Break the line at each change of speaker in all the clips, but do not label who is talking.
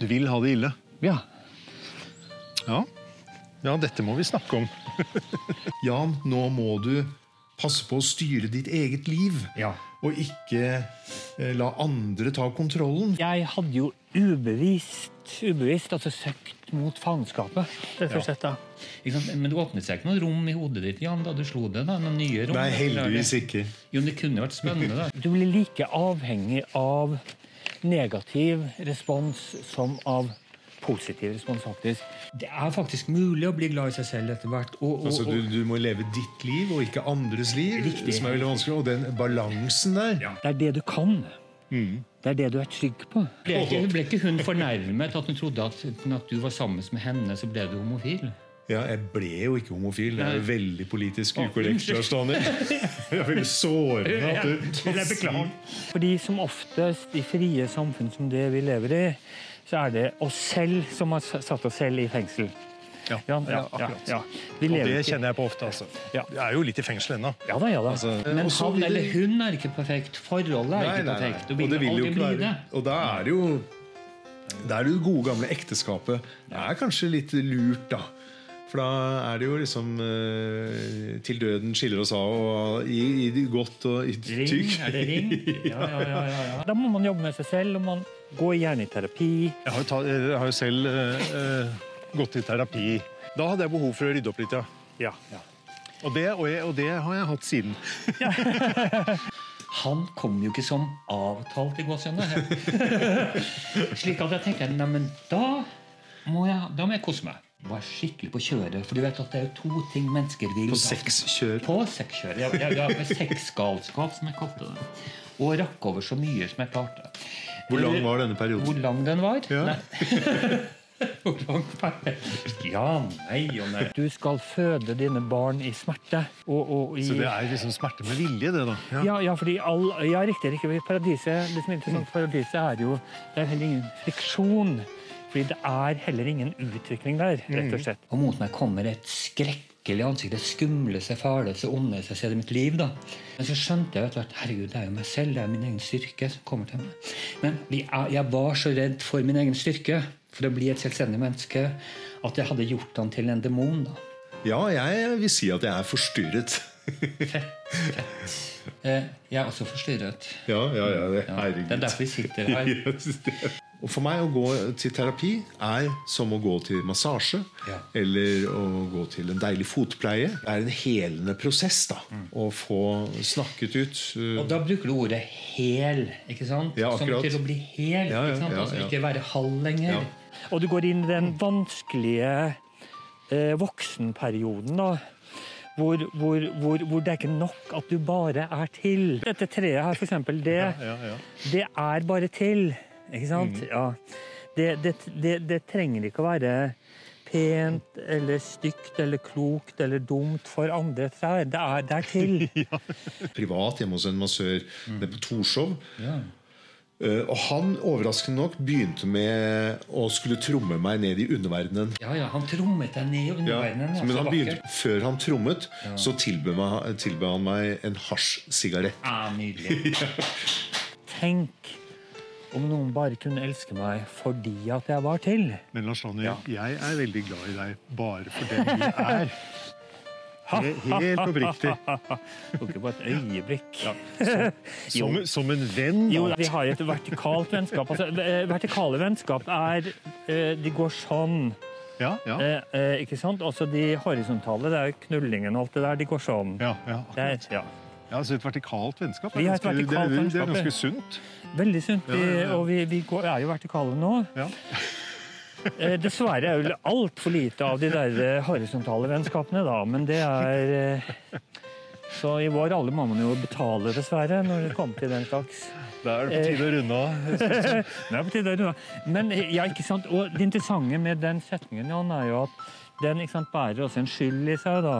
Du vil ha det ille.
Ja.
Ja. Ja, dette må vi snakke om.
Jan, nå må du passe på å styre ditt eget liv.
Ja.
Og ikke eh, la andre ta kontrollen.
Jeg hadde jo ubevisst, ubevisst altså søkt mot faenskapet, rett og slett. da.
Ikke sant? Men det åpnet seg ikke noen rom i hodet ditt Jan, da du slo det? da, Noen nye rom?
Nei, heldigvis ikke.
Jo, men Det kunne vært spennende. da.
Du blir like avhengig av negativ respons som av positiv respons, faktisk.
Det er faktisk mulig å bli glad i seg selv etter hvert. Og, og,
Altså, du,
og,
du må leve ditt liv og ikke andres liv,
Riktig.
som er veldig vanskelig. Og den balansen der
Det er det du kan.
Mm.
Det er det du er trygg på.
ble, ikke, ble ikke hun fornærmet at hun trodde at, at du var sammen med henne, så ble du homofil?
Ja, jeg ble jo ikke homofil. Det er jo veldig politisk
Å,
ukorrekt,
unnskyld.
Lars Daniel. Jeg ville såre at du
jeg beklager.
Fordi som oftest i frie samfunn som det vi lever i, så er det oss selv som har s- satt oss selv i fengsel.
Ja,
Ja, ja, ja,
akkurat.
ja. Vi
Og
lever
det
ikke
kjenner jeg på ofte. altså.
Ja.
Jeg er jo litt i fengsel ennå.
Ja da, ja da.
Men
og så
han
vil
eller
det-
hun er ikke perfekt. Forholdet er
Nei,
ikke
nei, nei.
perfekt.
Og det vil jo
aldri
ikke
bli
være Og da er det jo Da er det jo gode gamle ekteskapet. Det er kanskje litt lurt, da. For da er det jo liksom eh, Til døden skiller oss av, og i, i det godt og i det
Ring, er
tykt.
det ring? Ja, ja, ja, ja, ja.
Da må man jobbe med seg selv, og man går gjerne i terapi.
Jeg har jo, ta, jeg har jo selv eh, eh, gått i terapi. Da hadde jeg behov for å rydde opp litt, ja.
Ja.
Og det, og jeg, og det har jeg hatt siden.
Han kom jo ikke som avtalt i gåsehudene. Slik at jeg tenkte nei, men da må, jeg, da må jeg kose meg. Var skikkelig på kjøret. For du vet at det er jo to ting mennesker vil.
På sexkjør.
På sexkjøret. Ja, ja, ja, Sexgalskap, som jeg kalte det. Og rakk over så mye som jeg klarte.
Hvor lang var denne
Hvor
perioden?
lang den var?
Ja.
Nei. Hvor lang var den? Ja, nei og nei.
Du skal føde dine barn i smerte. Og, og i
Så det er liksom smerte med vilje, det, da. Ja.
Ja, ja, fordi all, ja, riktig, riktig. fordi Paradiset, det som er interessant for paradiset, er jo det er heller ingen friksjon. Fordi det er heller ingen utvikling der,
Mm.
rett og slett.
Og mot meg kommer et skrekkelig ansikt. Det skumleste, fæleste, ondeste jeg ser i mitt liv. da. Men så skjønte jeg etter hvert herregud, det er jo meg selv, det er min egen styrke som kommer til meg. Men vi er- jeg var så redd for min egen styrke, for å bli et selvstendig menneske, at jeg hadde gjort han til en demon. da.
Ja, jeg vil si at jeg er forstyrret.
Eh, Jeg er også forstyrret.
Ja, ja, ja. det-
Ja,
Herregud.
det er derfor vi sitter her.
Yes, det- Og for meg å gå til terapi er som å gå til massasje
Ja.
eller å gå til en deilig fotpleie. Det er en helende prosess da,
Mm.
å få snakket ut.
Og
uh,
da bruker du ordet hel, ikke sant?
Ja,
som
akkurat.
til å bli hel.
Ja, ja,
ikke sant?
ja,
altså
ja.
ikke være halv lenger.
Ja.
Og du går inn i den vanskelige eh, voksenperioden, da. Hvor, hvor, hvor, hvor det er ikke nok at du bare er til. Dette treet her, for eksempel, det,
Ja, ja.
det er bare til. Ikke sant? Ja. Det, det, det, det trenger ikke å være pent eller stygt eller klokt eller dumt for andre trær. Det er, det er til.
Privat hjemme hos en massør nede på Torshov.
Mm. Ja.
Uh, Og han, overraskende nok, begynte med å skulle tromme meg ned i underverdenen.
Ja, ja, han trommet deg ned i
Ja,
underverdenen.
men
altså,
han begynte,
vakkert.
før han trommet, så tilbød meg- tilbød han meg en hasjsigarett.
Ja, nydelig.
Tenk om noen bare kunne elske meg fordi at jeg var til.
Men Lars Daniel, jeg er veldig glad i deg bare for den du er. He- Helt oppriktig.
Ikke bare et øyeblikk.
Som, som en venn.
Jo,
da.
vi har et vertikalt vennskap. Altså, eh, vertikale vennskap er eh, De går sånn.
Ja, ja.
Eh, eh, Ikke sant? Altså de horisontale, det er jo knullingen og alt det der, de går sånn.
Ja, ja,
Det
akkurat.
er, ja.
ja, så Et vertikalt vennskap er
Vi har et
ganske, det,
vertikalt
er- det
vennskap,
er
ja.
ganske sunt.
Veldig sunt. Vi,
Ja, ja, ja.
Og vi, vi går, er jo vertikale nå.
Ja.
Eh, Dessverre er vel altfor lite av de der eh, horisontale vennskapene, da. Men det er eh, Så i vår alder må man jo betale, dessverre, når det kommer til den slags.
Da er det på tide å runde av.
Det er på tide å runde av. Men ja, ikke sant? Og det interessante med den setningen Jan, er jo at den ikke sant, bærer også en skyld i seg. da.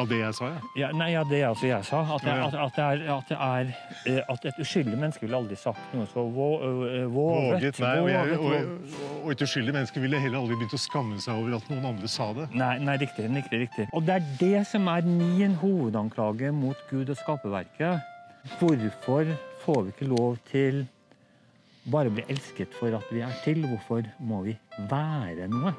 Av det jeg sa, ja.
Ja, nei, ja, Det er altså jeg sa. At, det-
Mm. Ja, ja.
at, at, det er, at, det er, eh, at et uskyldig menneske ville aldri sagt noe så vå, eh, våget.
Våget, nei, og,
våget,
jeg, og,
våget.
og- og et uskyldig menneske ville heller aldri begynt å skamme seg over at noen andre sa det.
Nei, nei, riktig, riktig, riktig. Og det er det som er min hovedanklage mot Gud og skaperverket. Hvorfor får vi ikke lov til bare bli elsket for at vi er til. Hvorfor må vi være noe?